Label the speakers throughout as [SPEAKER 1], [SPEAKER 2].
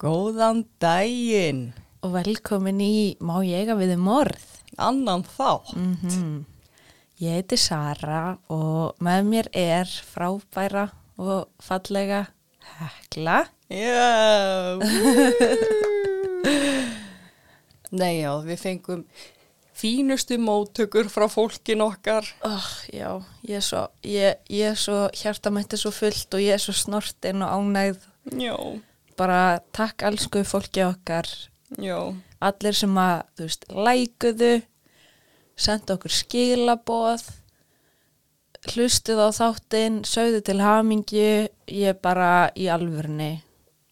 [SPEAKER 1] Góðan daginn,
[SPEAKER 2] og velkomin í Má ég að við um morð.
[SPEAKER 1] annan þá.
[SPEAKER 2] Mhm. Ég heiti Sara og með mér er frábæra og fallega Hekla.
[SPEAKER 1] Já. Nei, já, við fengum fínustu móttökur frá fólkin okkar.
[SPEAKER 2] Oh, já, ég er svo, ég, ég er svo hjartamætti svo fullt og ég er svo snortinn og ánægð.
[SPEAKER 1] Já,
[SPEAKER 2] Bara takk elsku fólki okkar,
[SPEAKER 1] já,
[SPEAKER 2] allir sem að, þú veist, lækuðu, senda okkur skilaboð, hlustuð á þáttinn, sögðu til hamingju, ég er bara í alvörni.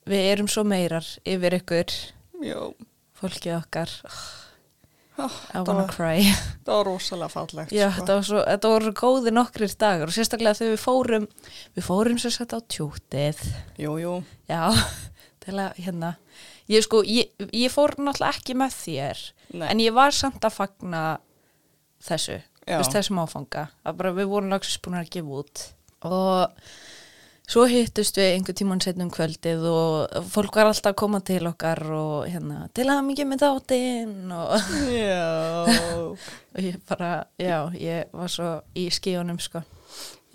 [SPEAKER 2] Við erum svo meirar yfir ykkur,
[SPEAKER 1] já.
[SPEAKER 2] fólkið okkar.
[SPEAKER 1] Ah,
[SPEAKER 2] I
[SPEAKER 1] það,
[SPEAKER 2] wanna
[SPEAKER 1] var,
[SPEAKER 2] cry.
[SPEAKER 1] það var rosalega fallegt.
[SPEAKER 2] Já,
[SPEAKER 1] sko.
[SPEAKER 2] þetta, var svo, þetta voru góði nokkrir dagar og sérstaklega þegar við fórum, við fórum sér sett á tjútið,
[SPEAKER 1] Jú, jú,
[SPEAKER 2] já, til að hérna, ég sko, ég, ég fór náttúrulega ekki með þér,
[SPEAKER 1] Nei.
[SPEAKER 2] en ég var samt að fagna þessu,
[SPEAKER 1] Já.
[SPEAKER 2] þess, þessum áfanga, að bara við vorum lagsins búin að gefa út og svo hittust við einhver tíman setnum um kvöldið og fólk var alltaf að koma til okkar og hérna, til að mikið með þáttinn og...
[SPEAKER 1] já.
[SPEAKER 2] og ég bara, já, ég var svo í skíunum sko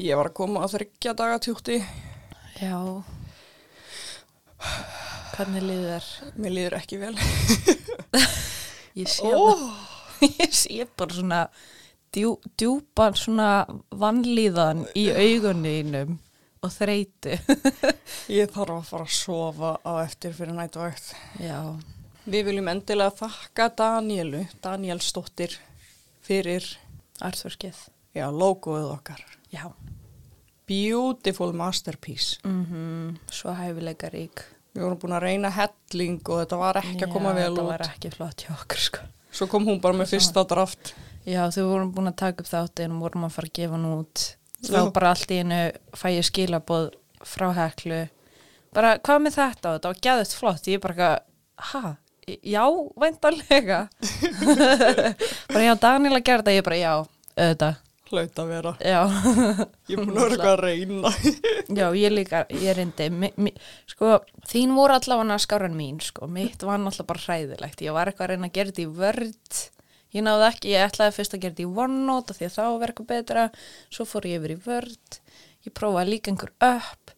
[SPEAKER 1] Ég var að koma að þryggja dagatjúkti.
[SPEAKER 2] já hvernig liður þér?
[SPEAKER 1] Mér líður ekki vel.
[SPEAKER 2] ég sé,
[SPEAKER 1] Ó,
[SPEAKER 2] ég sé bara svona djú, djúpan svona vannlíðan í auguninum og þreytu
[SPEAKER 1] ég þarf að fara að sofa á eftir fyrir nættuvægt.
[SPEAKER 2] já,
[SPEAKER 1] Við viljum endilega þakka Danielu, Danielsdóttir, fyrir
[SPEAKER 2] artverkið
[SPEAKER 1] já, logoið okkar.
[SPEAKER 2] já,
[SPEAKER 1] Beautiful masterpiece.
[SPEAKER 2] mm svo hæfilega rík
[SPEAKER 1] Við vorum búin að reyna helling og þetta var ekki að koma
[SPEAKER 2] já,
[SPEAKER 1] vel
[SPEAKER 2] þetta
[SPEAKER 1] út.
[SPEAKER 2] var ekki flott hjá okkur sko
[SPEAKER 1] Svo kom hún bara með fyrsta draft.
[SPEAKER 2] Já, þau vorum búin að taka upp þáttinn og vorum að fara að gefa hann út. Þá
[SPEAKER 1] Já.
[SPEAKER 2] bara allt í einu fæ ég skilaboð frá heklu. Bara, hvað með þetta? Þetta var gæðist flott. Ég bara, eitthvað, ha, já, væntanlega. bara, já, Daniela gerði þetta. Ég bara, já, auðvitað,
[SPEAKER 1] Hlaut að vera.
[SPEAKER 2] já.
[SPEAKER 1] Ég er búin að vera eitthvað að reyna.
[SPEAKER 2] já, ég líka, ég reyndi. Mi, mi, sko, þín voru allavega skára en mín, sko. Mitt var náttúrulega bara hræðilegt. Ég var eitthvað að reyna að gera þetta í vörd. Ég náði ekki, ég ætlaði fyrst að gera þetta í OneNote af því að þá var eitthvað betra, svo fór ég yfir í Word, ég prófaði líka einhver upp,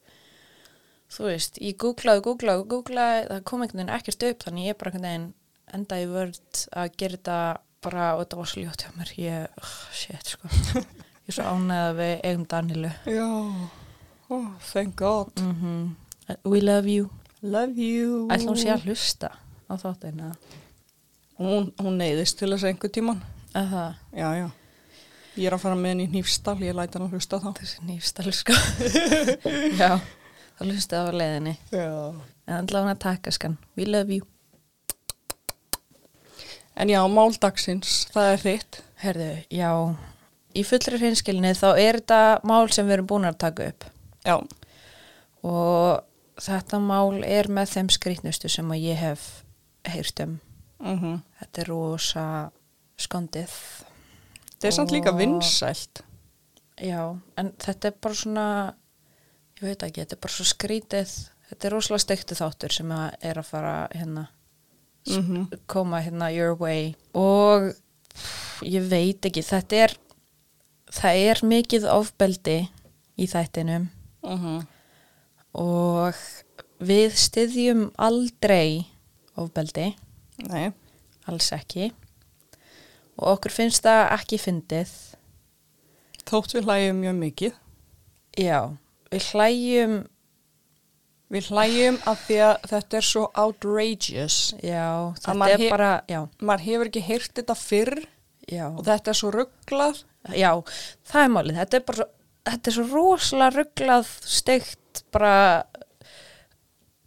[SPEAKER 2] þú veist, ég googlaði, googlaði, googlaði, það kom einhvern veginn ekkert upp, þannig ég bara einhvern veginn endaði í Word að gera þetta bara, og þetta var svo ljótt hjá mér, ég, oh, shit, sko, ég er svo ánæða við eigum Danilu.
[SPEAKER 1] já, oh, thank God.
[SPEAKER 2] Mm We love you.
[SPEAKER 1] Love you.
[SPEAKER 2] Ætla hún sé að hlusta á þáttina.
[SPEAKER 1] Hún, hún neyðist til þess einhver tíman.
[SPEAKER 2] Að það,
[SPEAKER 1] Já, já. Ég er að fara með henni í hnífstall, ég læti hann að hlusta þá.
[SPEAKER 2] þessi nýfstall, sko. Já, það hlustaði á leiðinni.
[SPEAKER 1] Já.
[SPEAKER 2] En allavega hann að taka skan. We love you.
[SPEAKER 1] En já, máldagsins, það er þitt.
[SPEAKER 2] Herðu, já, í fullri hreinskilni þá er þetta mál sem við erum búin að taka upp
[SPEAKER 1] Já,
[SPEAKER 2] og þetta mál er með þeim skrýtnustu sem að ég hef heyrt um.
[SPEAKER 1] mhm.
[SPEAKER 2] Þetta er rosa skondið.
[SPEAKER 1] Það er samt líka
[SPEAKER 2] Og-
[SPEAKER 1] vinsælt.
[SPEAKER 2] Já, en þetta er bara svona, ég veit ekki, þetta er bara svo skrýtið. Þetta er rosalega steikti þáttur sem að er að fara hérna
[SPEAKER 1] Mm
[SPEAKER 2] koma hérna your way og pff, ég veit ekki, þetta er það er mikið ofbeldi í þættinum
[SPEAKER 1] Mhm.
[SPEAKER 2] og við styðjum aldrei ofbeldi,
[SPEAKER 1] Nei,
[SPEAKER 2] alls ekki og okkur finnst það ekki fyndið
[SPEAKER 1] þótt við hlægjum mjög mikið.
[SPEAKER 2] já, við hlæjum
[SPEAKER 1] Við hlægjum af því að þetta er svo outrageous.
[SPEAKER 2] já, þetta
[SPEAKER 1] maður
[SPEAKER 2] er
[SPEAKER 1] he-
[SPEAKER 2] bara já,
[SPEAKER 1] Maður hefur ekki heyrt þetta fyrr
[SPEAKER 2] já,
[SPEAKER 1] og þetta er svo rugglað.
[SPEAKER 2] já, það er málið þetta er bara svo, þetta er svo rosalega rugglað steikt bara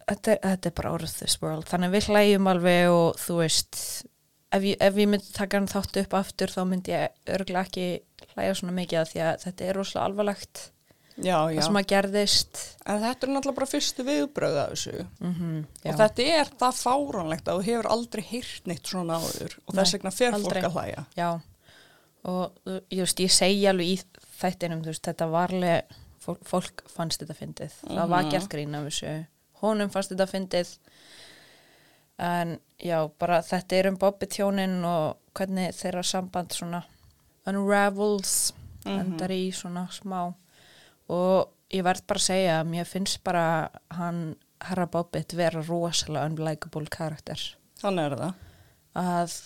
[SPEAKER 2] þetta er, þetta er bara out of this world, þannig að við hlægjum alveg og þú veist ef ég, ef ég myndi taka hann þátt upp aftur þá myndi ég örglega ekki hlæja svona mikið af því að þetta er rosalega alvarlegt
[SPEAKER 1] Já, já.
[SPEAKER 2] það sem að gerðist
[SPEAKER 1] En þetta er náttúrulega bara fyrstu viðbröð af þessu.
[SPEAKER 2] mm
[SPEAKER 1] Og þetta er það fáránlegt að þú hefur aldrei heyrt neitt svona áður. Og
[SPEAKER 2] Nei,
[SPEAKER 1] þess vegna fer
[SPEAKER 2] aldrei.
[SPEAKER 1] fólk að hlæja.
[SPEAKER 2] Já, og þú- ég, veist, ég segi alveg í þættinum, þú veist, þetta varlega, fólk, fólk fannst þetta fyndið. Það var
[SPEAKER 1] Mhm.
[SPEAKER 2] gert grín af þessu, honum fannst þetta fyndið, en já, bara þetta er um Bobby tjónin og hvernig þeirra samband svona unravels endar í svona smá og ég verð bara að segja að mér finnst bara hann herra Bobbitt vera rosalega unlikable karakter
[SPEAKER 1] Hann er það.
[SPEAKER 2] að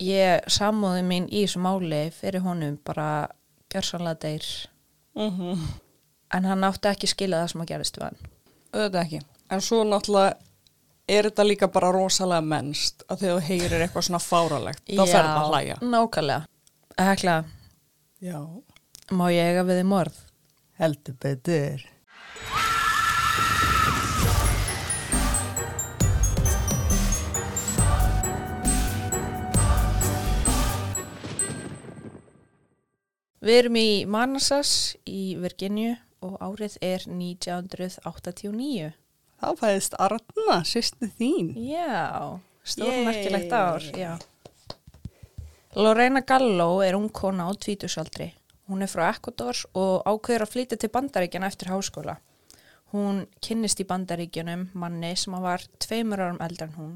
[SPEAKER 2] ég samúði mín í þessu máli fyrir honum bara gjörsanlega deyr
[SPEAKER 1] Mm -hmm.
[SPEAKER 2] en hann átti ekki skilja það sem að gerist við hann
[SPEAKER 1] Auðvitað ekki. En svo náttúrulega er þetta líka bara rosalega mennst að þegar þú heyrir eitthvað svona fáralegt, þá
[SPEAKER 2] Já,
[SPEAKER 1] ferðum að hlæja.
[SPEAKER 2] Nákvæmlega Hekla,
[SPEAKER 1] Já,
[SPEAKER 2] má ég eiga við þið morð?
[SPEAKER 1] heldur betur.
[SPEAKER 2] Við erum í Manassas í Virginíu og árið er 1989
[SPEAKER 1] Þá fæðist Arna, sýstu þín.
[SPEAKER 2] Já,
[SPEAKER 1] Yay.
[SPEAKER 2] stórmerkilegt ár já. Lorena Gallo er ung kona á tvítusaldri. Hún er frá Ecuador og ákveður að flytja til Bandaríkjana eftir háskóla. Hún kynnist í Bandaríkjunum manni sem að var tveimur árum eldar en hún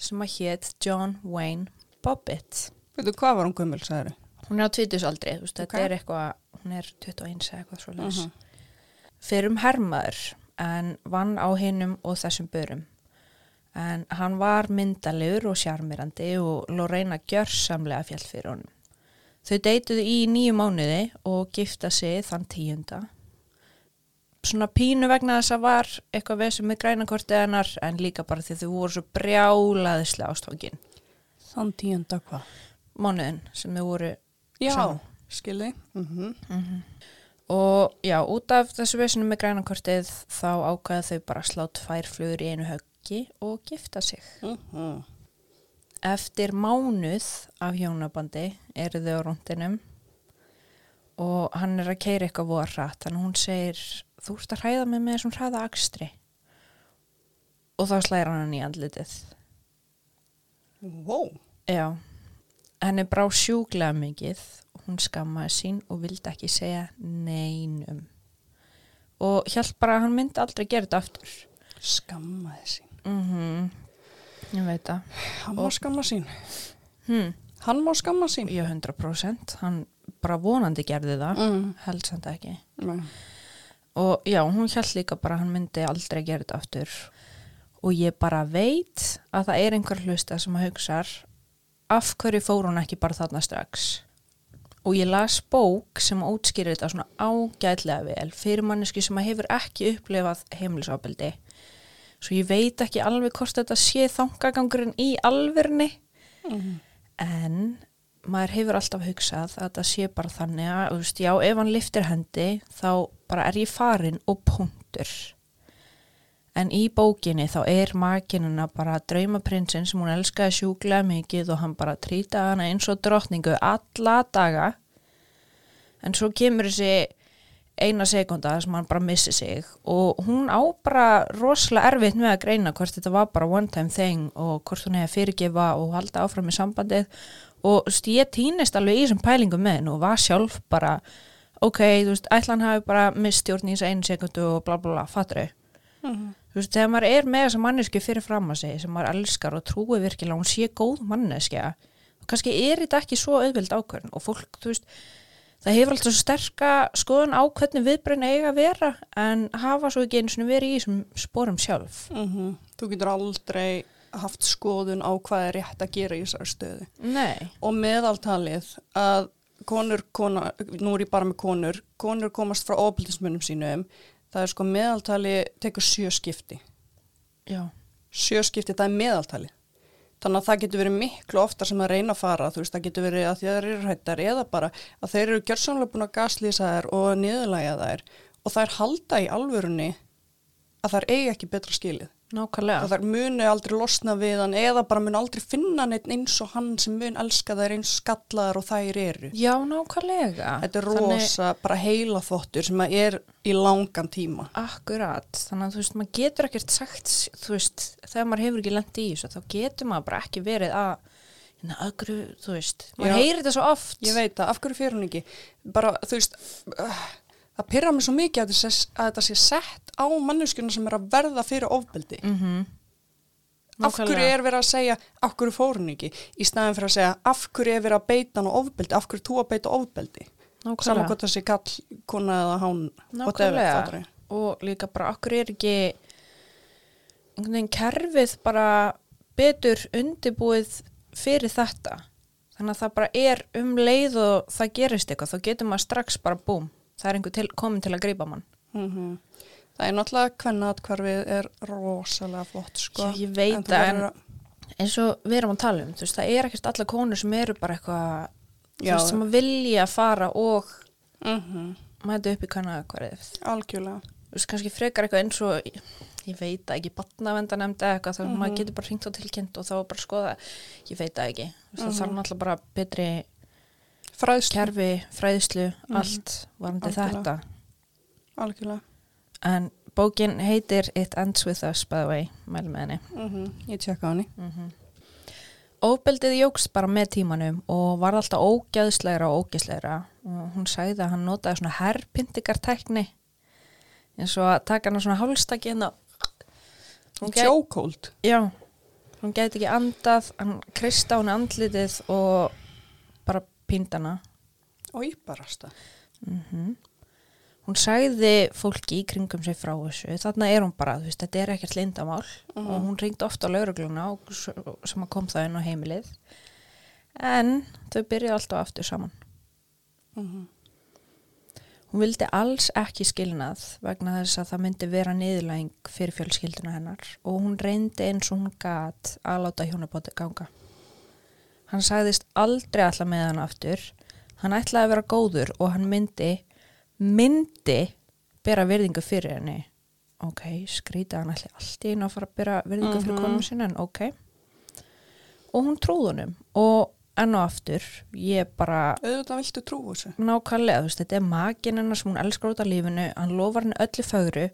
[SPEAKER 2] sem að hétt John Wayne Bobbitt.
[SPEAKER 1] Veitu, hvað var hún gömul, sagður?
[SPEAKER 2] Hún er á tvítusaldri, þú veist,
[SPEAKER 1] Ok. Mhm.
[SPEAKER 2] þetta er eitthvað, hún er 21 eða eitthvað svo leys. Fyrir um hermaður en vann á hinnum og þessum börum. En hann var myndalegur og sjarmirandi og Lorena gjörsamlega fjall fyrir honum. Þau deytuðu í nýju mánuði og gifta sig þann tíunda. Svona pínu vegna þess að var eitthvað vesum með grænakortið hennar en líka bara því þau voru svo brjálaðislega ástókin.
[SPEAKER 1] Þann tíunda hvað?
[SPEAKER 2] Mánuðin sem þau voru
[SPEAKER 1] Já,
[SPEAKER 2] Saman.
[SPEAKER 1] skilði. Mm -hmm.
[SPEAKER 2] Og já, út af þessu vesinu með grænakortið þá ákvaða þau bara að slá tvær flugur í einu höggi og gifta sig.
[SPEAKER 1] mhm.
[SPEAKER 2] Eftir mánuð af hjónabandi eru þau á rúndinum og hann er að keira eitthvað voða hratt. Þannig að hún segir, þú ert að hræða mig með þessum hræða akstri. Og þá slæra hann í andlitið.
[SPEAKER 1] Wow.
[SPEAKER 2] Já, henni brá sjúklega mikið. Hún skammaði sín og vildi ekki segja neinum. Og hjálp bara að hann myndi aldrei gera þetta aftur.
[SPEAKER 1] Skammaði sín.
[SPEAKER 2] Mm Ég veit það.
[SPEAKER 1] Hann má skamma sín.
[SPEAKER 2] Hm,
[SPEAKER 1] Hann má skamma sín.
[SPEAKER 2] ég 100%. Hann bara vonandi gerði það.
[SPEAKER 1] Mm.
[SPEAKER 2] Held samt ekki.
[SPEAKER 1] Nei.
[SPEAKER 2] Og já, hún hjálp líka bara að hann myndi aldrei gera þetta aftur. Og ég bara veit að það er einhver hlusta sem að hugsa af hverju fór hún ekki bara þarna strax. Og ég las bók sem útskýrir þetta svona ágætlega vel fyrir manneski sem að hefur ekki upplifað heimilisofbeldi. Svo ég veit ekki alveg hvort þetta sé þangagangurinn í alverni
[SPEAKER 1] Mhm.
[SPEAKER 2] en maður hefur alltaf hugsað að það sé bara þannig að, þú veist, já, ef hann liftir hendi þá bara er ég farin og punktur. En í bókinni þá er makinina bara draumaprinsinn sem hún elskaði sjúklega mikið og hann bara trýtaði hana eins og drottningu alla daga. En svo kemur þessi eina sekunda sem hann bara missi sig og hún á bara rosalega erfitt með að greina hvort þetta var bara one time thing og hvort hún hefði að fyrirgefa og halda áfram í sambandið og þú veist, ég týnist alveg í þessum pælingum með henn og var sjálf bara ok, þú veist, ætlan hafi bara mistjórn í þessa einu sekundu og bla bla bla, fattur
[SPEAKER 1] Mhm.
[SPEAKER 2] þú veist, þegar maður er með þessa manneski fyrir fram að sig sem maður elskar og trúi virkilega að hún sé góð manneskja og kannski er þetta ekki svo auðveld ákvörn og fólk, þú veist, það hefur alltaf svo sterka skoðun á hvernig viðbrun eiga að vera en hafa svo ekki einu svona verið í þessum spórum sjálf
[SPEAKER 1] Mhm. Þú getur aldrei haft skoðun á hvað er rétt að gera í þessari stöðu.
[SPEAKER 2] Nei,
[SPEAKER 1] og meðaltalið að konur, kona, nú er ég bara með konur, konur komast frá ofbeldismunum sínum, það er sko meðaltali tekur sjö skipti.
[SPEAKER 2] já,
[SPEAKER 1] Sjö skipti, það er meðaltalið. Þannig að það getur verið miklu oftar sem að reyna að fara, þú veist, það getur verið að þér eru hættar eða bara að þeir eru gjörsamlega búin að gaslýsa þær og niðurlæga þær og þær halda í alvörunni að þær eigi ekki betra skilið
[SPEAKER 2] nákvæmlega
[SPEAKER 1] að þær munu aldrei losna við hann eða bara munu aldrei finna neitt eins og hann sem mun elska þær eins skallaðar og þær eru.
[SPEAKER 2] Já, nákvæmlega
[SPEAKER 1] Þetta er
[SPEAKER 2] Þannig-
[SPEAKER 1] rosa, bara heila þvottur sem að er í langan tíma.
[SPEAKER 2] Akkurat, þannig að þú veist, maður getur ekkert sagt, þú veist, þegar maður hefur ekki lent í þessu, þá getur maður bara ekki verið að, hérna, ögru, þú veist, maður
[SPEAKER 1] Já.
[SPEAKER 2] heyrir þetta svo oft.
[SPEAKER 1] Ég veit það, af hverju fyrir hún ekki? Bara, þú veist, uh, það pyrra mig svo mikið að,
[SPEAKER 2] Mhm.
[SPEAKER 1] þess, að þetta sé sett á manneskjuna sem er að verða fyrir ofbeldi.
[SPEAKER 2] Mm -hmm.
[SPEAKER 1] af hverju
[SPEAKER 2] Nákvæmlega.
[SPEAKER 1] er verið að segja af hverju fór hún ekki í staðin fyrir að segja af hverju er verið að beita hann á ofbeldi af hverju þú að beita ofbeldi
[SPEAKER 2] Nákvæmlega.
[SPEAKER 1] saman hvort þessi kall, kona eða hán
[SPEAKER 2] Nákvæmlega. og líka bara okkur er ekki einhvern veginn kerfið bara betur undibúið fyrir þetta þannig að það bara er um leið og það gerist eitthvað, þá getur maður strax bara búm, það er einhver til, komin til að grípa mann
[SPEAKER 1] mm það er náttúrulega kvennaatkvarfið er rosalega flott sko.
[SPEAKER 2] Já, ég veit
[SPEAKER 1] En þú
[SPEAKER 2] það,
[SPEAKER 1] verður
[SPEAKER 2] en-
[SPEAKER 1] að-
[SPEAKER 2] eins og við erum að tala um, þú veist, það er ekkert alla konur sem eru bara eitthvað þú
[SPEAKER 1] Já.
[SPEAKER 2] veist, sem að vilja fara og
[SPEAKER 1] Mhm,
[SPEAKER 2] mæta upp í kannaða hverðið
[SPEAKER 1] algjörlega
[SPEAKER 2] þú veist, kannski frekar eitthvað eins og ég veit það ekki, batnavenda eða eitthvað, þá
[SPEAKER 1] Mhm.
[SPEAKER 2] maður getur bara hringt og tilkynnt og þá er bara að skoða, ég veit það ekki mm -hmm. það þarf náttúrulega bara betri
[SPEAKER 1] Mhm. fræðslu, Mhm.
[SPEAKER 2] kerfi, fræðslu, allt varandi
[SPEAKER 1] Algjörlega.
[SPEAKER 2] þetta
[SPEAKER 1] algjörlega
[SPEAKER 2] en bókin heitir It Ends With Us by the way, mælum með henni
[SPEAKER 1] mm ég tjekka hann í
[SPEAKER 2] Óbeldið jókst bara með tímanum og var alltaf ógæðslegra og ógæðslegra og hún sagði að hann notaði svona herrpyntingartækni eins og að taka hann svona hálstakki en
[SPEAKER 1] hún tjókóld
[SPEAKER 2] Já, hún gæti ekki andað, hann krist á hún andlitið og bara pínd hana. Mhm.
[SPEAKER 1] og íbarasta
[SPEAKER 2] Hún sagði fólki í kringum sig frá þessu, þarna er hún bara, þú veist, þetta er ekkert lindamál og hún ringdi ofta á laurugluna og s- sem að kom það inn á heimilið. En þau byrjuði alltaf aftur saman. Mhm. Hún vildi alls ekki skilnað vegna þess að það myndi vera niðurlæng fyrir fjölskylduna hennar og hún reyndi eins og hún gat að láta hjónabóti ganga. Hann sagðist aldrei alltaf með hann aftur. Hann ætlaði að vera góður og hann myndi, myndi bera virðingu fyrir henni. Ok, skrýta hann ætli allt í einu að fara að bera virðingu fyrir konum sinna en ok. Og hún trúði honum og enn og aftur, ég bara
[SPEAKER 1] auðvitað viltu trú þessu
[SPEAKER 2] nákvæmlega, þú veist, þetta er makin hennar sem hún elskar út af lífinu, hann lofar henni öllu fögru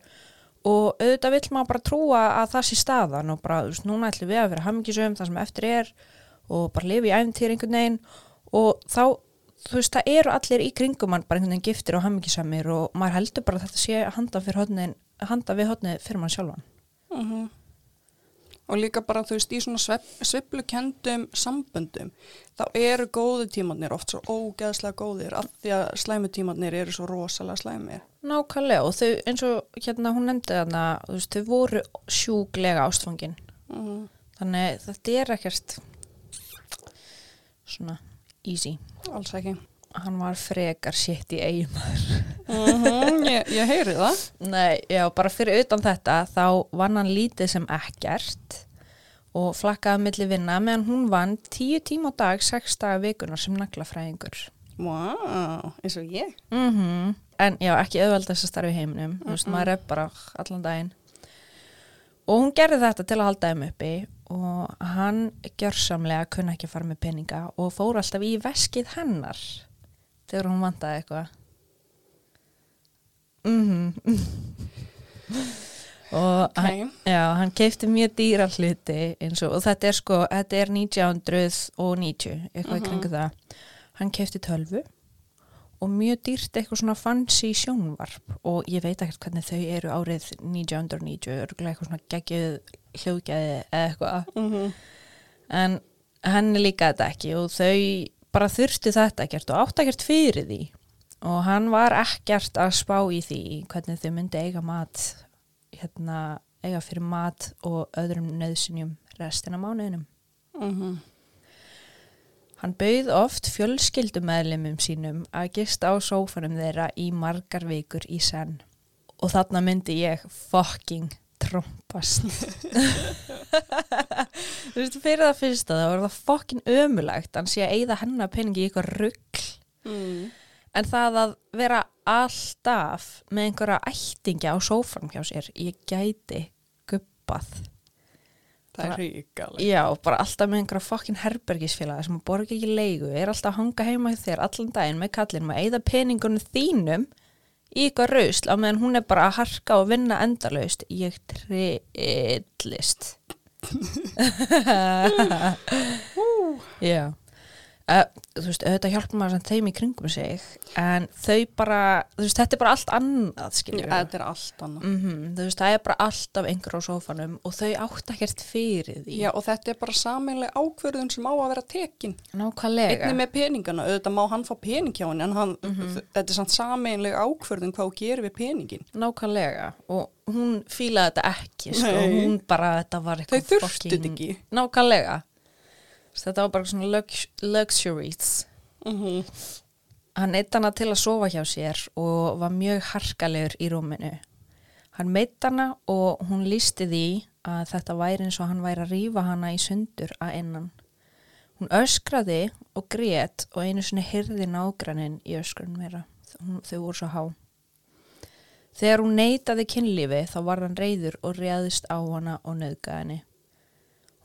[SPEAKER 2] og auðvitað vill maður bara trúa að það sé staðan og bara, þú veist, núna ætlum við að vera hamingisum það sem eftir er og bara lifi í æfntýr einhvern veginn og þá, þú veist, það eru allir í kringum mann bara einhvern veginn giftir og hamingisamir og maður heldur bara að þetta sé handa, fyrir hodnin, handa við hodnið fyrir mann sjálfan.
[SPEAKER 1] og líka bara þú veist í svona svepp, sveplukendum samböndum þá eru góðu tímanir oft svo ógeðslega góðir af því að slæmu tímanir eru svo rosalega slæmir
[SPEAKER 2] Nákvæmlega og þau, eins og hérna hún nefndi þarna, þú veist, þau voru sjúklega ástfangin.
[SPEAKER 1] mm
[SPEAKER 2] Mhm.
[SPEAKER 1] -hmm.
[SPEAKER 2] Þannig þetta er ekkert svona easy.
[SPEAKER 1] alls ekki
[SPEAKER 2] Hann var frekar sitt í eigumar.
[SPEAKER 1] mm ég, ég heyri það
[SPEAKER 2] Nei, já, bara fyrir utan þetta þá vann hann lítið sem ekkert og flakkaði á milli vinna meðan hún vann tíu tíma á dag, sex daga vikuna sem naglafræðingur.
[SPEAKER 1] wow, eins og ég
[SPEAKER 2] Mm En já, ekki auðveldast að starfi í heiminum. Þú veist, maður er bara allan daginn. Og hún gerði þetta til að halda þeim uppi og hann gjörsamlega kunna ekki að fara með peninga og fór alltaf í veskið hennar þegar hún vantaði eitthvað. Mm Mhm. og
[SPEAKER 1] Ok.
[SPEAKER 2] hann, já, hann keipti mjög dýra hluti eins og, og þetta er sko, þetta er 1990 eitthvað í kringu það. Hann keipti tölvu og mjög dýrt eitthvað svona fancy sjónvarp og ég veit ekkert hvernig þau eru árið 1990, örgulega eitthvað svona geggjöð hljóðgæði eða eitthvað
[SPEAKER 1] mm -hmm.
[SPEAKER 2] en henni líka þetta ekki og þau bara þurfti þetta ekkert og átt ekkert fyrir því og hann var ekkert að spá í því hvernig þau myndi eiga mat hérna, eiga fyrir mat og öðrum nöðsynjum restina mánuðinum
[SPEAKER 1] Mhm.
[SPEAKER 2] Hann bauð oft fjölskyldumæðlimum sínum að gista á sófanum þeirra í margar vikur í senn. Og þarna myndi ég fucking trompast. Þú veist, fyrir það fyrsta þá var það fucking ömulagt hann sé að eyða hennar peningi í eitthvað rugl.
[SPEAKER 1] Mm.
[SPEAKER 2] En það að vera alltaf með einhverja ættingi á sófanum hjá sér, ég gæti gubbað.
[SPEAKER 1] það
[SPEAKER 2] Bara-
[SPEAKER 1] er ríkalegt
[SPEAKER 2] Já, bara alltaf með einhverja fokkin herbergisfélagi sem að borga ekki leigu, er alltaf að hanga heima hjá þér allan daginn með kallin, maður eigða peningunum þínum í eitthvað rausl á meðan hún er bara að harka og vinna endalaust. Ég trillist. Já, Uh, þú veist, auðvitað hjálpa maður sem þeim í kringum sig en þau bara, þú veist, þetta er bara allt annað skiljum við
[SPEAKER 1] Þetta er allt annað.
[SPEAKER 2] mm þú veist, það er bara allt af einhver á sófanum og þau átt ekkert fyrir því
[SPEAKER 1] Já, og þetta er bara sameinlega ákverðun sem á að vera tekin.
[SPEAKER 2] nákvæmlega
[SPEAKER 1] Einnig með peningana, auðvitað má hann fá pening hjá henni, en hann,
[SPEAKER 2] Mhm.
[SPEAKER 1] þetta er samt sameinlega ákverðun hvað hún gerir við peningin.
[SPEAKER 2] nákvæmlega og hún fílaði þetta ekki sko.
[SPEAKER 1] Nei.
[SPEAKER 2] hún bara, þetta var
[SPEAKER 1] Þau
[SPEAKER 2] eitthvað
[SPEAKER 1] þurftu þetta
[SPEAKER 2] fucking-
[SPEAKER 1] ekki.
[SPEAKER 2] nákvæmlega Þú veist, þetta var bara svona lux luxuries
[SPEAKER 1] Mm
[SPEAKER 2] Hann eitt hana til að sofa hjá sér og var mjög harkalegur í rúminu. Hann meitt hana og hún lísti því að þetta væri eins og hann væri að rífa hana í sundur að innan. Hún öskraði og grét og einu sinni hyrði nágrannin í öskrun meira. Hún, þau voru svo há. Þegar hún neitaði kynlífi þá var hann reyður og réðist á hana og nöðgaði henni.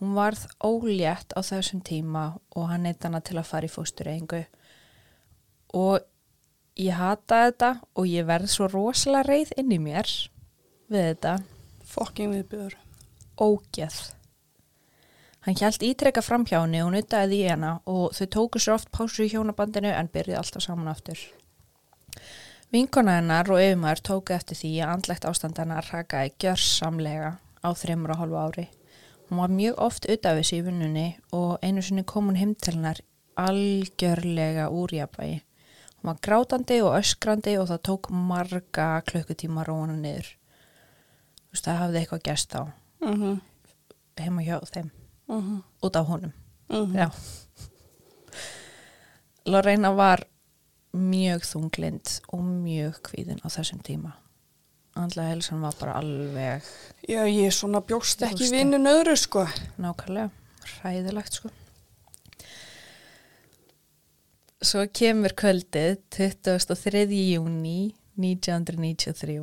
[SPEAKER 2] Hún varð ólétt á þessum tíma og hann neitt hana til að fara í fóstureyingu og ég hata þetta og ég verð svo rosalega reið inn í mér við þetta
[SPEAKER 1] Fokking viðbjör.
[SPEAKER 2] ógeð. Hann hjælt ítrekka fram hjá henni og nuttaði í hana og þau tóku sér oft pásu í hjónabandinu en byrjuði alltaf saman aftur. Vinkona hennar og yfirmaður tóku eftir því að andlegt ástand hennar rakaði gjörsamlega á þreymur og hálfu ári. Hún var mjög oft utan við sig í vinnunni og einu sinni kom hún heim til hennar algjörlega úr jafnvægi. Hún var grátandi og öskrandi og það tók marga klukkutíma róna niður. Þú veist, það hafði eitthvað gerst þá
[SPEAKER 1] Mm -hmm.
[SPEAKER 2] heima hjá þeim
[SPEAKER 1] Mm -hmm.
[SPEAKER 2] út af honum
[SPEAKER 1] Mhm.
[SPEAKER 2] já Lorena var mjög þunglind og mjög kvíðin á þessum tíma andlega helsan var bara alveg
[SPEAKER 1] Já, ég er svona bjóst ekki
[SPEAKER 2] Bjóst
[SPEAKER 1] vinnu nöðru, sko.
[SPEAKER 2] nákvæmlega hræðilegt sko svo kemur kvöldið 23. júni 1993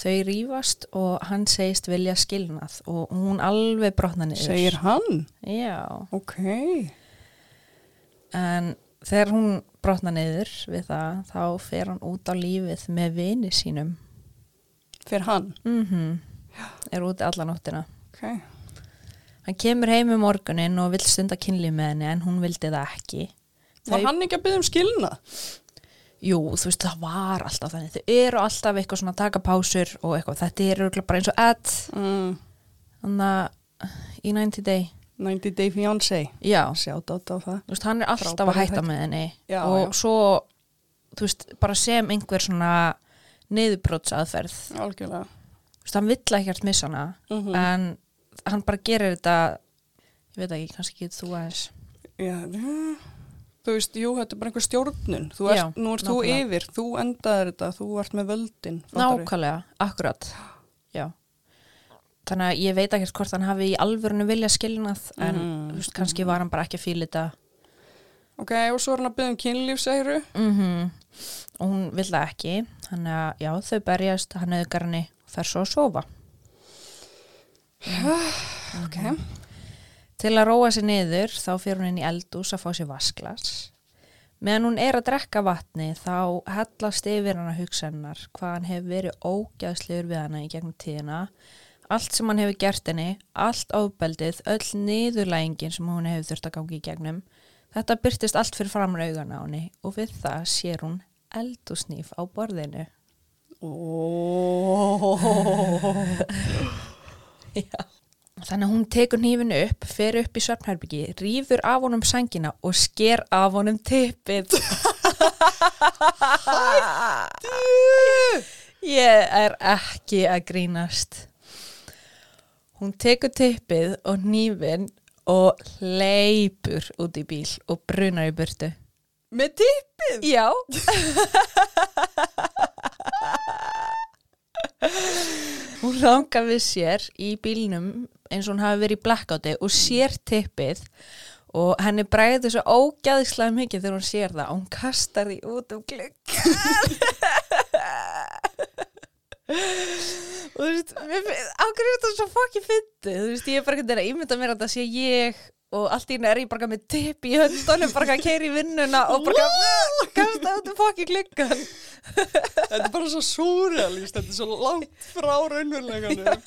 [SPEAKER 2] þau rýfast og hann segist vilja skilnað og hún alveg brotna niður
[SPEAKER 1] Segir hann.
[SPEAKER 2] já
[SPEAKER 1] Ok.
[SPEAKER 2] En þegar hún brotna niður við það, þá fer hann út á lífið með vini sínum.
[SPEAKER 1] Fyrir hann.
[SPEAKER 2] Mm
[SPEAKER 1] Mhm.
[SPEAKER 2] Er úti alla nóttina.
[SPEAKER 1] Ok.
[SPEAKER 2] Hann kemur heim um morgunin og vill stunda kynli með henni en hún vildi það ekki.
[SPEAKER 1] Var hann ekki að byggja um skilna?
[SPEAKER 2] Jú, þú veist, það var alltaf þannig. Þau eru alltaf eitthvað svona að taka pásur og eitthvað. Þetta er örugglega bara eins og add.
[SPEAKER 1] Mm.
[SPEAKER 2] Þannig að í 90 day.
[SPEAKER 1] 90 Day Fiancé.
[SPEAKER 2] Já.
[SPEAKER 1] Sjátt átt á það.
[SPEAKER 2] Þú veist, hann er alltaf
[SPEAKER 1] Frábæri
[SPEAKER 2] að hætta
[SPEAKER 1] þættir.
[SPEAKER 2] með henni.
[SPEAKER 1] Já,
[SPEAKER 2] og
[SPEAKER 1] já.
[SPEAKER 2] svo, þú veist, bara sem einhver svona niðurbrótsaðferð.
[SPEAKER 1] Algjörlega.
[SPEAKER 2] þú veist, hann vill ekkert missa hana
[SPEAKER 1] Mhm.
[SPEAKER 2] en hann bara gerir þetta ég veit ekki, kannski getur þú aðeins
[SPEAKER 1] Já, eh, þú veist, jú, þetta er bara einhver stjórnun. Þú
[SPEAKER 2] Já,
[SPEAKER 1] ert, nú ert þú
[SPEAKER 2] nákvæmlega.
[SPEAKER 1] yfir, þú endaðir þetta, þú ert með völdin. fattarðu?
[SPEAKER 2] nákvæmlega, akkurat já þannig að ég veit ekkert hvort hann hafi í alvörinu vilja skilnað en
[SPEAKER 1] Mm,
[SPEAKER 2] þú veist, kannski var hann bara ekki að fíla þetta
[SPEAKER 1] Ok, og svo er hann að byggja um kynlíf, segiru.
[SPEAKER 2] mm og hún vill það ekki þannig að já, þau berjast hann auðgar henni og fer svo að sofa
[SPEAKER 1] Ok.
[SPEAKER 2] Til að róa sér niður þá fyrir hún inn í eldús að fá sér vasklas. Meðan hún er að drekka vatni þá hellast yfir hana hugsannar hvað hann hefur verið ógæðslegur við hana í gegnum tíðina. Allt sem hann hefur gert henni, allt ábeldið, öll niðurlægingin sem hún hefur þurft að gangi í gegnum. Þetta byrtist allt fyrir framur augan á henni og við það sér hún eldúsnýf á borðinu.
[SPEAKER 1] Oh.
[SPEAKER 2] Þannig að hún tekur nýfinu upp, fer upp í svefnherbyggi, rýfur af honum sængina og sker af honum tippið. Ég er ekki að grínast. Hún tekur tippið og nýfin og leipur út í bíl og brunar í burtu.
[SPEAKER 1] með tippið?
[SPEAKER 2] Já. hún langar við sér í bílnum eins og hún hafi verið í blackouti og sér tippið og henni bræði svo ógæðislega mikið þegar hún sér það og hún kastar því út um glugg. og þú veist, mér finn- á hverju er þetta svo fokki fyndið, þú veist, ég er bara ekki að ímynda mér að það sé ég og allt í henni er ég bara með tipp í höndunum, bara að keira í vinnuna og bara að kasta út um fokki gluggan.
[SPEAKER 1] Þetta er bara svo súrealist, þetta er svo langt frá raunveruleganum.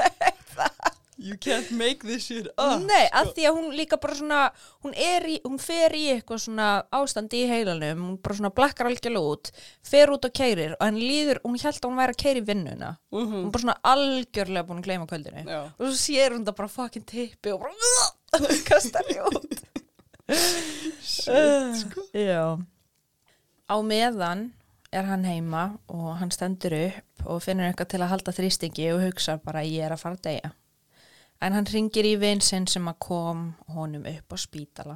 [SPEAKER 1] You can't make this shit up.
[SPEAKER 2] Nei, að því að hún líka bara svona, hún, er í, hún fer í eitthvað svona ástandi í heilanum, hún bara svona blakkar algjörlega út, fer út og keirir og hann líður, hún held að hún væri að keiri vinnuna. Hún bara svona algjörlega búin að gleyma kvöldinu.
[SPEAKER 1] Mhm. Já.
[SPEAKER 2] Og svo sér hún það bara fucking tippi og bara kastar í út.
[SPEAKER 1] Shit, sko.
[SPEAKER 2] Já. Á meðan er hann heima og hann stendur upp og finnur eitthvað til að halda þrýstingi og hugsa bara ég er að fara að deyja. En hann ringir í vinsinn sem að kom honum upp á spítala.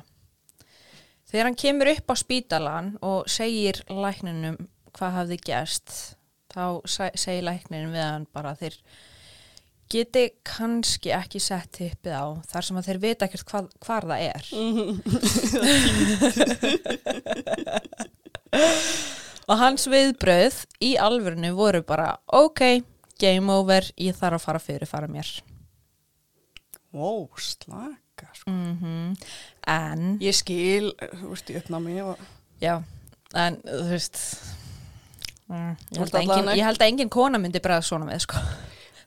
[SPEAKER 2] Þegar hann kemur upp á spítalan og segir lækninum hvað hafði gerst, þá se- segir lækninum við hann bara að þeir geti kannski ekki sett tippið á þar sem að þeir vita ekkert hvað, hvar það er. Og hans viðbröð í alvörinu voru bara, ok, game over, ég þarf að fara fyrir fara mér.
[SPEAKER 1] Wow, slaka, sko.
[SPEAKER 2] Mm En,
[SPEAKER 1] Ég skil, þú veist, í uppnámi og...
[SPEAKER 2] já, en þú veist, mm, ég,
[SPEAKER 1] Þú
[SPEAKER 2] held
[SPEAKER 1] ert
[SPEAKER 2] að engin,
[SPEAKER 1] allan ekki-
[SPEAKER 2] ég held að engin kona myndi bregða svona með, sko.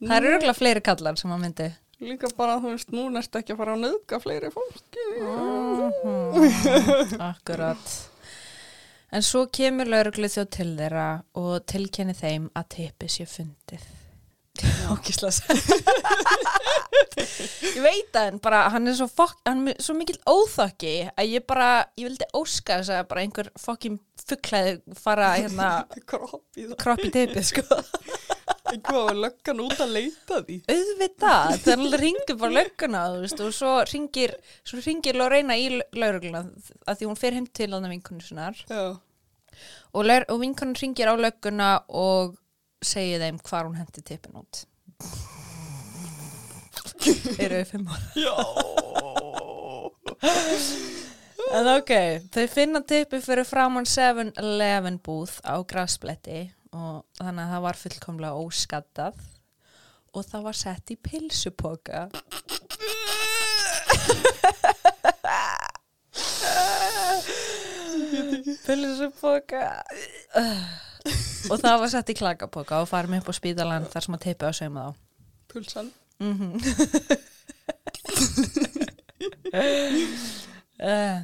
[SPEAKER 2] Það eru örgulega fleiri kallar sem að myndi.
[SPEAKER 1] Líka bara, þú veist, nú næst ekki að fara að nöðga fleiri fólki.
[SPEAKER 2] Akkurat. En svo kemur lauruglu þjóð til þeirra og tilkenni þeim að tippi sé fundið. Ókislega sætt. ég veit það en bara hann er svo, fokk, hann er svo mikill óþokki að ég bara, ég vildi óska þess að bara einhver fokkin fugglaði fara hérna
[SPEAKER 1] Kropp í það.
[SPEAKER 2] kropp í tippið sko.
[SPEAKER 1] Eitthvað var löggan út að leita því.
[SPEAKER 2] Auðvitað, það er alveg ringið bara lögguna þú veist, og svo ringir, svo ringir Lorena í laurugluna að því hún fer heim til hann að vinkonu sinnar
[SPEAKER 1] Já.
[SPEAKER 2] og, lær- og vinkonun ringir á lögguna og segir þeim hvar hún hendi tippin út eru við fimm ára
[SPEAKER 1] Já.
[SPEAKER 2] en ok, þau finna tippi fyrir framann 7-Eleven búð á græsbletti og þannig að það var fullkomlega óskattað og það var sett í pilsupoka pilsupoka og það var sett í klakapoka og farum upp á spítalan þar sem að tippi á sauma þá
[SPEAKER 1] Pulsan.
[SPEAKER 2] Uh,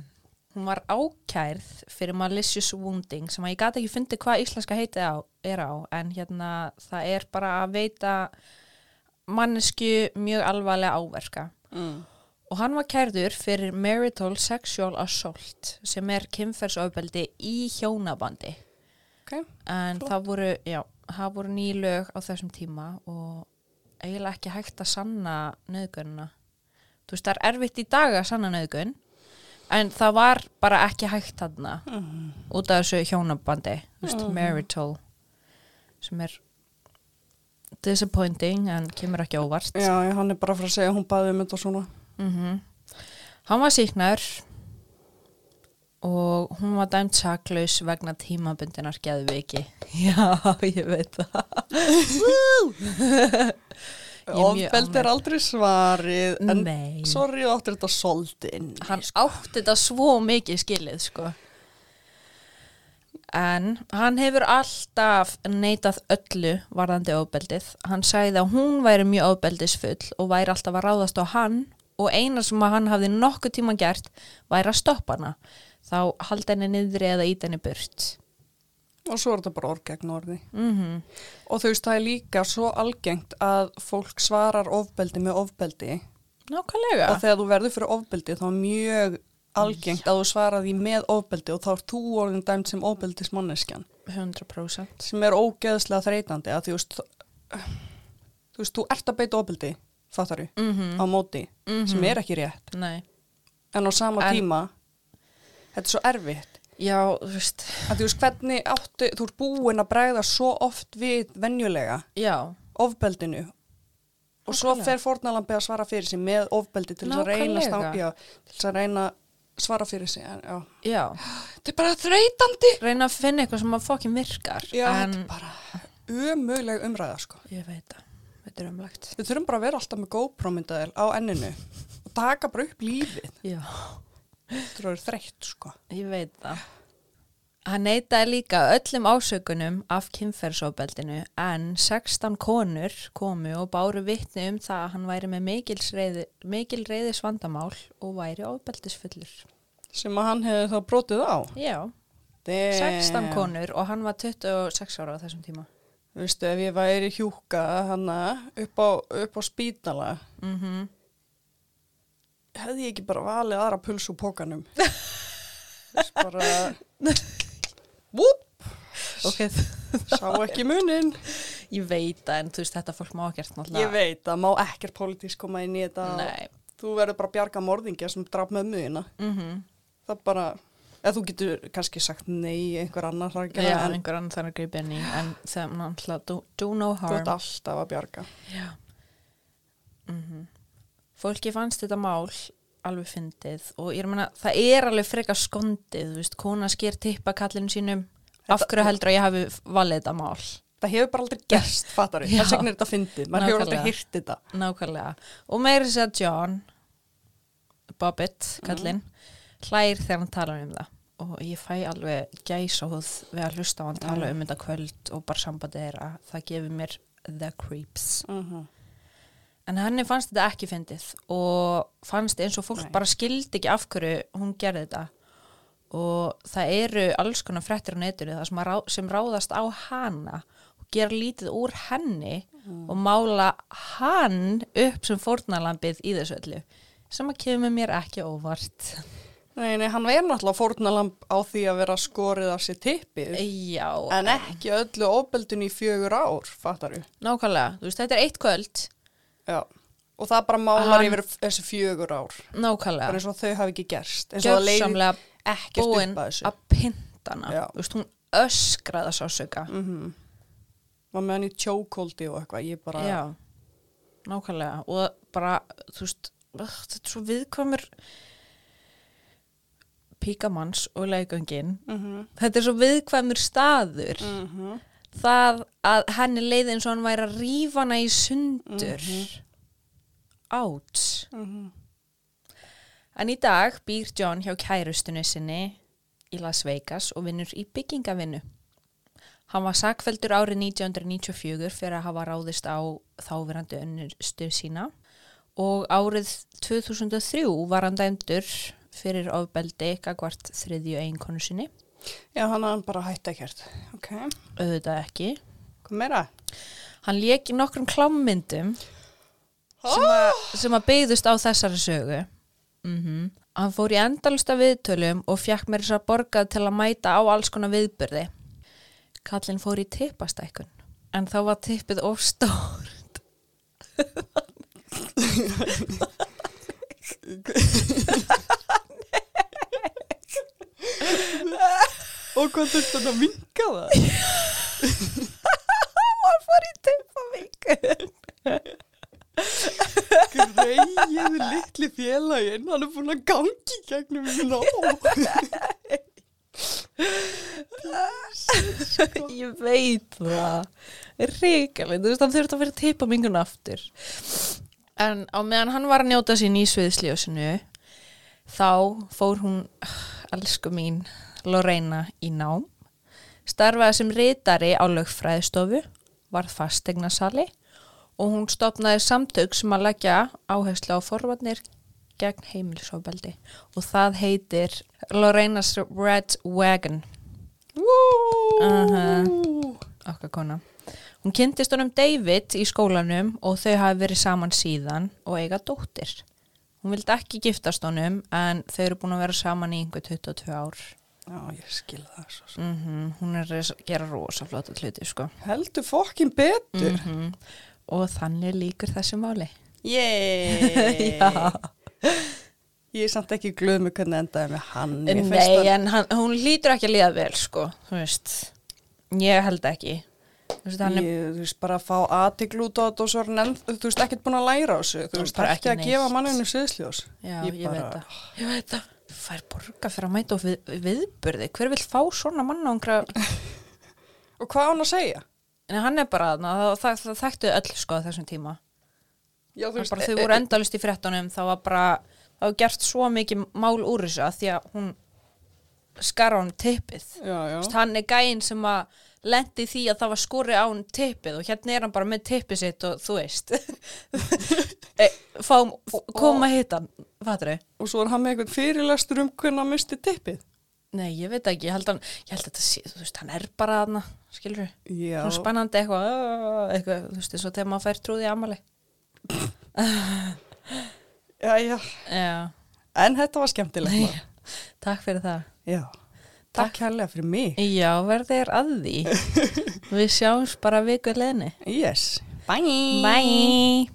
[SPEAKER 2] hún var ákærð fyrir malicious wounding sem að ég gat ekki fundið hvað íslenska heitið á, er á en hérna það er bara að veita mannesku mjög alvarlega áverka
[SPEAKER 1] Mm.
[SPEAKER 2] og hann var kærður fyrir marital sexual assault sem er kynferðsofbeldi í hjónabandi
[SPEAKER 1] Ok.
[SPEAKER 2] en það voru, já, það voru nýlög á þessum tíma og eiginlega ekki hægt að sanna nöðgunna. Þú veist, það er erfitt í dag að sanna nöðgun en það var bara ekki hægt þarna út af þessu hjónabandi, þú veist, marital sem er disappointing en kemur ekki á óvart.
[SPEAKER 1] Já, já, hann er bara fyrir að segja að hún baði um þetta svona.
[SPEAKER 2] -hmm. Hann var síknar og hún var dæmt saklaus vegna tímabundinar geðviki. Já, ég veit það. Ég er mjög
[SPEAKER 1] Ofbeld er aldrei svarið, en
[SPEAKER 2] Nei.
[SPEAKER 1] sorry, þú áttir þetta soldin.
[SPEAKER 2] Hann
[SPEAKER 1] sko.
[SPEAKER 2] átti þetta svo mikið skilið, sko. En hann hefur alltaf neitað öllu varðandi ofbeldið. Hann sagði að hún væri mjög ofbeldisfull og væri alltaf að ráðast á hann og eina sem að hann hafði nokkuð tíma gert væri að stoppa hana. Þá haldi henni niðri eða ít henni burt.
[SPEAKER 1] Og svo er þetta bara orð gegn orði.
[SPEAKER 2] Mm
[SPEAKER 1] Og þú veist, það er líka svo algengt að fólk svarar ofbeldi með ofbeldi.
[SPEAKER 2] Nákvæmlega.
[SPEAKER 1] Og þegar þú verður fyrir ofbeldi, þá er mjög algengt að þú svarar því með ofbeldi og þá er þú orðin dæmt sem ofbeldismanneskjan.
[SPEAKER 2] 100%.
[SPEAKER 1] Sem er ógeðslega þreytandi að þú veist, þú veist, þú ert að beita ofbeldi, fattar þú,
[SPEAKER 2] Mm
[SPEAKER 1] á móti, sem er ekki rétt.
[SPEAKER 2] Nei.
[SPEAKER 1] En á sama
[SPEAKER 2] Mhm. En-
[SPEAKER 1] tíma, þetta er svo erfitt.
[SPEAKER 2] Já, þú veist.
[SPEAKER 1] að þú veist hvernig áttu, þú ert búin að bregða svo oft við venjulega
[SPEAKER 2] Já.
[SPEAKER 1] ofbeldinu og svo
[SPEAKER 2] Nákvæmlega.
[SPEAKER 1] fer fornalambi að svara fyrir sig með ofbeldi til þess að reyna að stang-
[SPEAKER 2] Nákvæmlega.
[SPEAKER 1] já, til þess að reyna að svara fyrir sig en, já.
[SPEAKER 2] Já.
[SPEAKER 1] þetta er bara þreytandi
[SPEAKER 2] Reyna að finna eitthvað sem að fokkin virkar.
[SPEAKER 1] já, þetta
[SPEAKER 2] en,
[SPEAKER 1] er bara umöguleg umræða sko.
[SPEAKER 2] Ég veit það. Þetta er umlagt.
[SPEAKER 1] við þurfum bara að vera alltaf með GoPro-myndaðil á enninu og taka bara upp lífið
[SPEAKER 2] Já.
[SPEAKER 1] þú eru þreytt sko
[SPEAKER 2] Ég veit það. Hann neitaði líka öllum ásökunum af kynferðsóbeldinu en 16 konur komu og báru vitni um það að hann væri með mikil, reyði, mikil reyðis vandamál og væri óbeldisfullur.
[SPEAKER 1] sem að hann hefði þá brotið á
[SPEAKER 2] Já,
[SPEAKER 1] Damn.
[SPEAKER 2] 16 konur og hann var 26 ára á þessum tíma.
[SPEAKER 1] Vistu, ef ég væri hjúka hana upp á, upp á spítala
[SPEAKER 2] Mm
[SPEAKER 1] Mhm.
[SPEAKER 2] -hmm.
[SPEAKER 1] hefði ég ekki bara valið aðra pulsu pókanum Vistu, bara vúp,
[SPEAKER 2] Ok,
[SPEAKER 1] sá ekki munin
[SPEAKER 2] ég veit það en þú veist þetta fólk má gert náttúrulega.
[SPEAKER 1] ég veit að má ekkert pólitísk koma inn í þetta
[SPEAKER 2] Nei.
[SPEAKER 1] þú verður bara að bjarga morðingja sem draf með muðina
[SPEAKER 2] Mm
[SPEAKER 1] það bara, eða þú getur kannski sagt nei einhver annar hrækjana
[SPEAKER 2] Já,
[SPEAKER 1] en
[SPEAKER 2] einhver annan þarf að grípa inn í en það er náttúrulega do, do no
[SPEAKER 1] þú
[SPEAKER 2] harm.
[SPEAKER 1] ert alltaf að bjarga
[SPEAKER 2] Já. Mhm. Fólki fannst þetta mál alveg fyndið og ég meina það er alveg freka skondið, þú veist, kona sker tippa kallinu sínum, af hverju heldur að ég hafi valið þetta mál?
[SPEAKER 1] það hefur bara aldrei gerst, fattar við,
[SPEAKER 2] Já.
[SPEAKER 1] það segnir þetta fyndið maður hefur aldrei
[SPEAKER 2] Nákvæmlega.
[SPEAKER 1] hýrt þetta
[SPEAKER 2] Nákvæmlega. Og meira þess að John, Bobbitt, kallinn, hlær þegar hann talar um það og ég fæ alveg gæsáð við að hlusta á hann tala um þetta kvöld og bara sambandið er að það gefur mér the creeps.
[SPEAKER 1] uh
[SPEAKER 2] En henni fannst þetta ekki fyndið og fannst eins og fólk
[SPEAKER 1] Nei.
[SPEAKER 2] bara skildi ekki af hverju hún gerði þetta og það eru alls konar frettir á netinu það sem, að rá, sem ráðast á hana og gera lítið úr henni
[SPEAKER 1] Mm.
[SPEAKER 2] og mála hann upp sem fórnalambið í þessu öllu sem að kemur mér ekki óvart.
[SPEAKER 1] Nei, nei, hann er náttúrulega fórnalamb á því að vera skorið af sér tippið,
[SPEAKER 2] Já,
[SPEAKER 1] en ekki öllu óbeldun í fjögur ár, fattar við.
[SPEAKER 2] nákvæmlega. Þú veist, þetta er eitt kvöld,
[SPEAKER 1] Já, og það bara málar
[SPEAKER 2] Hann-
[SPEAKER 1] yfir þessi fjögur ár, bara
[SPEAKER 2] nákvæmlega,
[SPEAKER 1] eins og þau hafi ekki gerst, eins og það leiði
[SPEAKER 2] gjörsamlega
[SPEAKER 1] ekkert
[SPEAKER 2] búin
[SPEAKER 1] upp að þessu.
[SPEAKER 2] að pindana.
[SPEAKER 1] Já.
[SPEAKER 2] Þú veist, hún öskraða sásöka.
[SPEAKER 1] Mm Var með hann í tjókóldi og eitthvað, ég bara,
[SPEAKER 2] Já, nákvæmlega og bara, þú veist ugh, þetta er svo viðkvæmur píkamanns og leikangin
[SPEAKER 1] Mhm.
[SPEAKER 2] þetta er svo viðkvæmur staður
[SPEAKER 1] Mhm.
[SPEAKER 2] það að henni leiði eins og hann væri að rífa hana í sundur átt
[SPEAKER 1] Mhm.
[SPEAKER 2] en í dag býr John hjá kærustunni sinni í Las Vegas og vinnur í byggingavinnu Hann var sakfeldur árið 1994 fyrir að hafa ráðist á þáverandi önnustu sína og árið 2003 var hann dæmdur fyrir ofbeldi gagvart þriðju eiginkonu sinni,
[SPEAKER 1] já, hann hann bara hætti ekkert. Ok,
[SPEAKER 2] auðvitað ekki.
[SPEAKER 1] hvað meira?
[SPEAKER 2] Hann lék í nokkrum klámmyndum sem, a, sem að beigðust á þessari sögu. Mm Hann fór í endalsta viðtölum og fjakk mér þess að borgað til að mæta á alls konar viðbyrði. Kallinn fór í tippastækkun, en þá var tippið of stór.
[SPEAKER 1] Og hvað þurfti hann að vinka það?
[SPEAKER 2] Hann fór í tippavinkun.
[SPEAKER 1] Greið litli félaginn, hann er búin að gangi gegnum í nóg.
[SPEAKER 2] Ég veit það. Ríkalinn, þú veist, hann þurfti að vera tippavinkun aftur. En á meðan hann var að njóta sín í sviðsljósinu, þá fór hún, elsku mín, Lorena í nám, starfaði sem rítari á lögfræðistofu, varð fastegnasali og hún stopnaði samtök sem að leggja áherslu á forvarnir gegn heimilisofbeldi og það heitir Lorena's Red Wagon,
[SPEAKER 1] Vú!
[SPEAKER 2] okkar kona. Hún kynntist honum David í skólanum og þau hafi verið saman síðan og eiga dóttir. Hún vildi ekki giftast honum en þau eru búin að vera saman í einhver 22 ár.
[SPEAKER 1] Já, ég skil það svo sem.
[SPEAKER 2] Mm Hún er að gera rosa flotta hluti, sko.
[SPEAKER 1] Heldur fokkin betur.
[SPEAKER 2] Mm Og þannig líkur þessu máli.
[SPEAKER 1] Yey!
[SPEAKER 2] Já.
[SPEAKER 1] Ég er samt ekki glöð með hvernig endaði með hann. Mér finnst
[SPEAKER 2] Nei,
[SPEAKER 1] hann-
[SPEAKER 2] en hann, hún lítur ekki að líða vel, sko. Þú veist, ég held ekki. Þú veist, hann er
[SPEAKER 1] Ég, þú veist, bara að fá aðtikl út á þetta og svo er hann enn, þú veist, ekkert búin að læra á þessu, þú veist,
[SPEAKER 2] Bara
[SPEAKER 1] ekki
[SPEAKER 2] ekki
[SPEAKER 1] að gefa
[SPEAKER 2] neitt.
[SPEAKER 1] manninu sviðsljós.
[SPEAKER 2] Já, ég,
[SPEAKER 1] bara-
[SPEAKER 2] veit það. Ég veit það. Þú fær borga fyrir að mæta og við, viðburði. Hver vil fá svona mann á einhverja...
[SPEAKER 1] Og hvað á hann að segja?
[SPEAKER 2] En hann er bara þarna, það, það, það þekktu öll sko á þessum tíma.
[SPEAKER 1] Já, þú e-
[SPEAKER 2] Það bara þau voru endalist í frettunum, það var bara, það var gert svo mikið mál úr þessu að því að hún skara á hann tippið
[SPEAKER 1] já, já.
[SPEAKER 2] Vist, hann er gæinn sem að lendi því að það var skori á hann tippið og hérna er hann bara með tippið sitt og þú veist e, fáum, koma að hitta hann fattur þau?
[SPEAKER 1] Og svo er hann með einhvern fyrirlestur um hvernig hann misti tippið.
[SPEAKER 2] Nei, ég veit ekki, ég held, hann, ég held að þetta sé, þú veist, hann er bara þarna, skilur við
[SPEAKER 1] Já.
[SPEAKER 2] svona spennandi eitthvað, "Ah", eitthvað þú veist, eins og þegar maður fær trúði amali
[SPEAKER 1] Já, já.
[SPEAKER 2] Já,
[SPEAKER 1] En þetta var skemmtilegt. maður.
[SPEAKER 2] takk fyrir það
[SPEAKER 1] Já. Takk hérlega fyrir mig.
[SPEAKER 2] Já, verðið er að því Við sjáumst bara viku leðni
[SPEAKER 1] Yes. Bye.
[SPEAKER 2] Bye